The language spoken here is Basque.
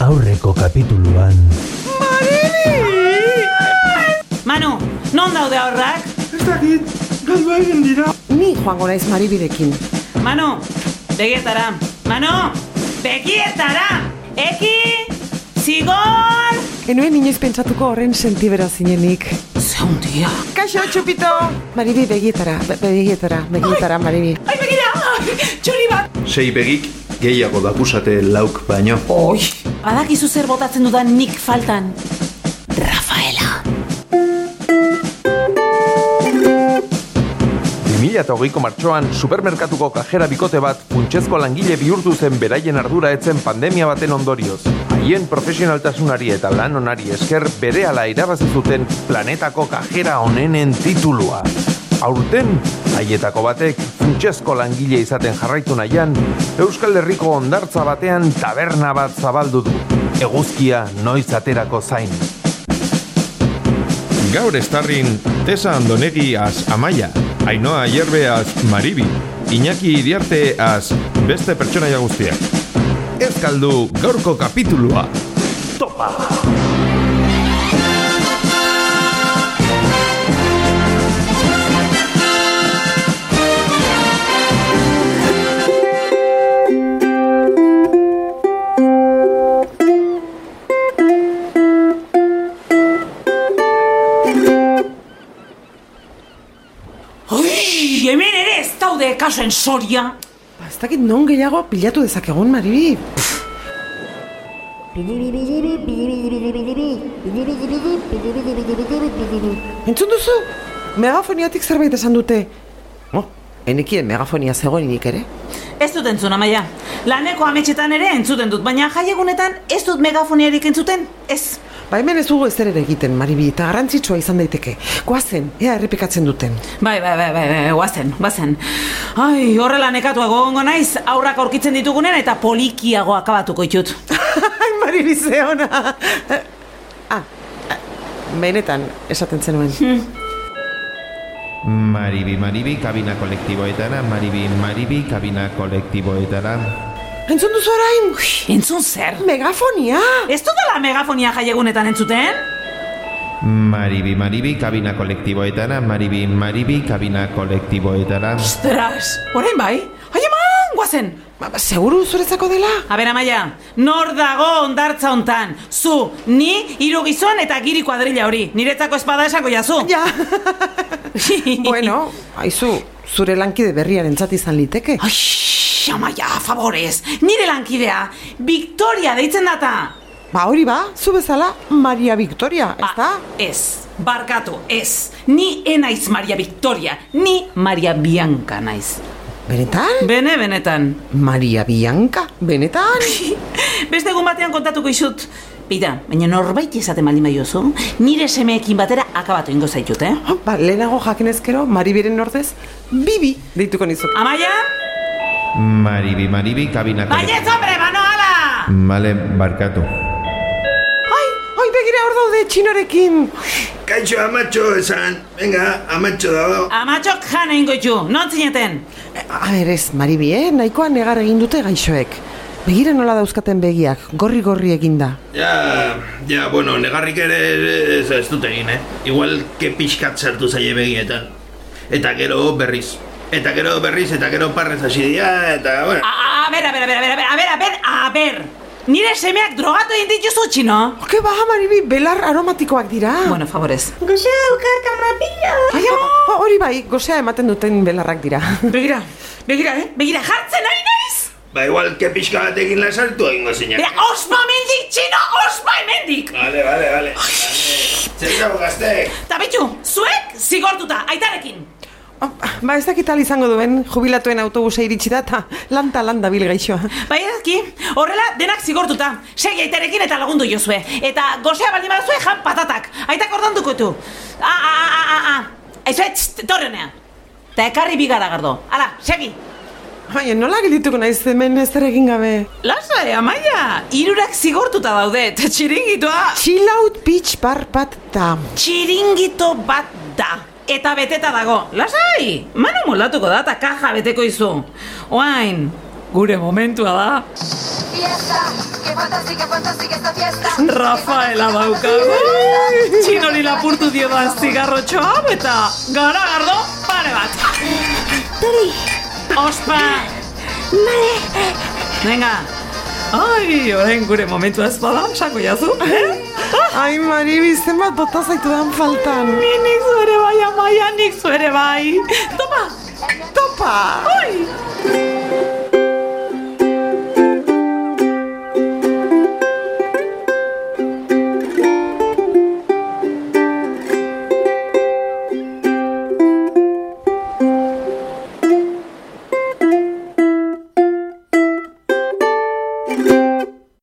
aurreko kapituluan. Manu, non daude aurrak? Ez dakit, galdu egin dira. Ni joango naiz maribidekin. Manu, begietara. Manu, begietara! Eki, zigor! Enuen inoiz pentsatuko horren sentibera zinenik. Zeundia. Kaixo, txupito! Maribi begietara, be- begietara, begietara, Maribi. Ai, begira! Ai, Txuri bat! Sei begik gehiago dakusate lauk baino. Oi! Badakizu zer botatzen dudan nik faltan. Rafaela. 2008ko martxoan supermerkatuko kajera bikote bat funtsezko langile bihurtu zen beraien ardura etzen pandemia baten ondorioz. Haien profesionaltasunari eta lan onari esker berehala irabazi zuten planetako kajera onenen titulua. Aurten, haietako batek funtsezko langile izaten jarraitu nahian, Euskal Herriko ondartza batean taberna bat zabaldu du. Eguzkia noiz aterako zain. Gaur estarrin Tesa Andonegi az Amaia, Ainoa Hierbe az Maribi, Iñaki Iriarte az beste pertsonaia guztiak. Ez galdu gaurko kapitulua. Oi, hemen ere ez daude kasuen soria. Ba, ez dakit non gehiago pilatu dezakegun, Maribi. Entzun duzu? Megafoniatik zerbait esan dute. Mo, Oh, enekien megafonia zegoenik ere. Ez dut entzun, amaia. Laneko ametxetan ere entzuten dut, baina jaiegunetan ez dut megafoniarik entzuten, ez. Ba, hemen ez dugu ezer ere egiten, Maribi, eta garrantzitsua izan daiteke. Goazen, ea errepikatzen duten. Bai, bai, bai, bai, bai, guazen, guazen. Ai, horrela nekatu egongo naiz, aurrak aurkitzen ditugunen eta polikiago akabatuko itut. Ai, Maribi, ze ona! ah, benetan esaten zenuen. Maribi, Maribi, kabina kolektiboetara, Maribi, Maribi, kabina kolektiboetara. Entzun duzu orain? Entzun zer? Megafonia! Ez dudala megafonia jaiegunetan entzuten? Maribi, Maribi, kabina kolektiboetara, Maribi, Maribi, kabina kolektiboetara. Ostras, orain bai? Ai, eman, guazen! Ba, ba, seguru zuretzako dela? A ber, Amaia, nor dago ondartza hontan? Zu, ni, hiru gizon eta giri kuadrilla hori. Niretzako espada esango jazu. Ja, bueno, haizu, zure lankide berriaren izan liteke. Ai, Amaia, favorez, nire lankidea, Victoria deitzen data. Ba, hori ba, zu bezala Maria Victoria, ez da? Ah, ez, barkatu, ez. Ni enaiz Maria Victoria, ni Maria Bianca naiz. Benetan? Bene, benetan. Maria Bianca, benetan? Beste egun batean kontatuko izut. Bida, baina norbait esaten baldin badiozu, nire semeekin batera akabatu ingo zaitut, eh? Oh, ba, lehenago jakinezkero, Maribiren ordez, Bibi deituko nizuk. Amaia? Maribi, Maribi, kabina Baietz, kolektiboetara. hombre, bano ala! Male, barkatu. Ai, ai, begira hor daude txinorekin. Kaixo amatxo esan, venga, amatxo dago. Amatxok jana ingo itu, non zineten? A ber ez, Maribi, eh? Nahikoa negar egin dute gaixoek. Begira nola dauzkaten begiak, gorri-gorri eginda. Ja, ja, bueno, negarrik ere ez, ez dut egin, eh? Igual ke pixkat sartu zaie begietan. Eta gero berriz. Eta gero berriz, eta gero parrez hasi dira, eta, bueno. A, a ber, a ber, a ber, a ber, a ber, a ber, a ber, Nire semeak drogatu egin dituzu, txino? Oke ba, Maribi, belar aromatikoak dira. Bueno, favorez. Ai, ama, hori bai, gozea ematen duten belarrak dira. Begira, begira, eh? Begira, jartzen ari naiz! Ba, igual ke pixka batekin la sartu egingo zinak. Bera, ospa mendik, txino, ospa emendik! Vale, vale, vale. Zer dago gazteek? Ta betxu, zuek zigortuta, aitarekin! Oh, ba, ez dakit ahal izango duen, jubilatuen autobusa iritsi da, eta lanta landa bil gaixoa. Bai edazki, horrela denak zigortuta. Segi aitarekin eta lagundu jozue. Eta gozea baldin baduzue jan patatak. Aitak Ah, ordan dukotu. A, a, a, a, a, a. Aizu, txt, torri honea. Eta ekarri bigara gardo. Hala, segi. Ai, nola geldituko naiz hemen ezer egin gabe. Lasai, amaia. Irurak zigortuta daude, eta txiringitoa... Chill out beach bar bat da. Txiringito bat da. Eta beteta dago. Lasai, manu moldatuko da eta kaja beteko izu. Oain, gure momentua da. Irurak fiesta. Qué fantástica, fantástica esta fiesta. Rafaela daukagu. Txinori lapurtu dio da zigarrotxo hau eta garagardo pare bat. Tori, Ospa! bale, Venga. Ai, orain gure momentua ez bada, sako jazu. Eh? Ai, Maribi, zenbat bota zaitu dan faltan. Ni nik zuere bai, amaia, nik zuere bai. Topa, Topa! oi!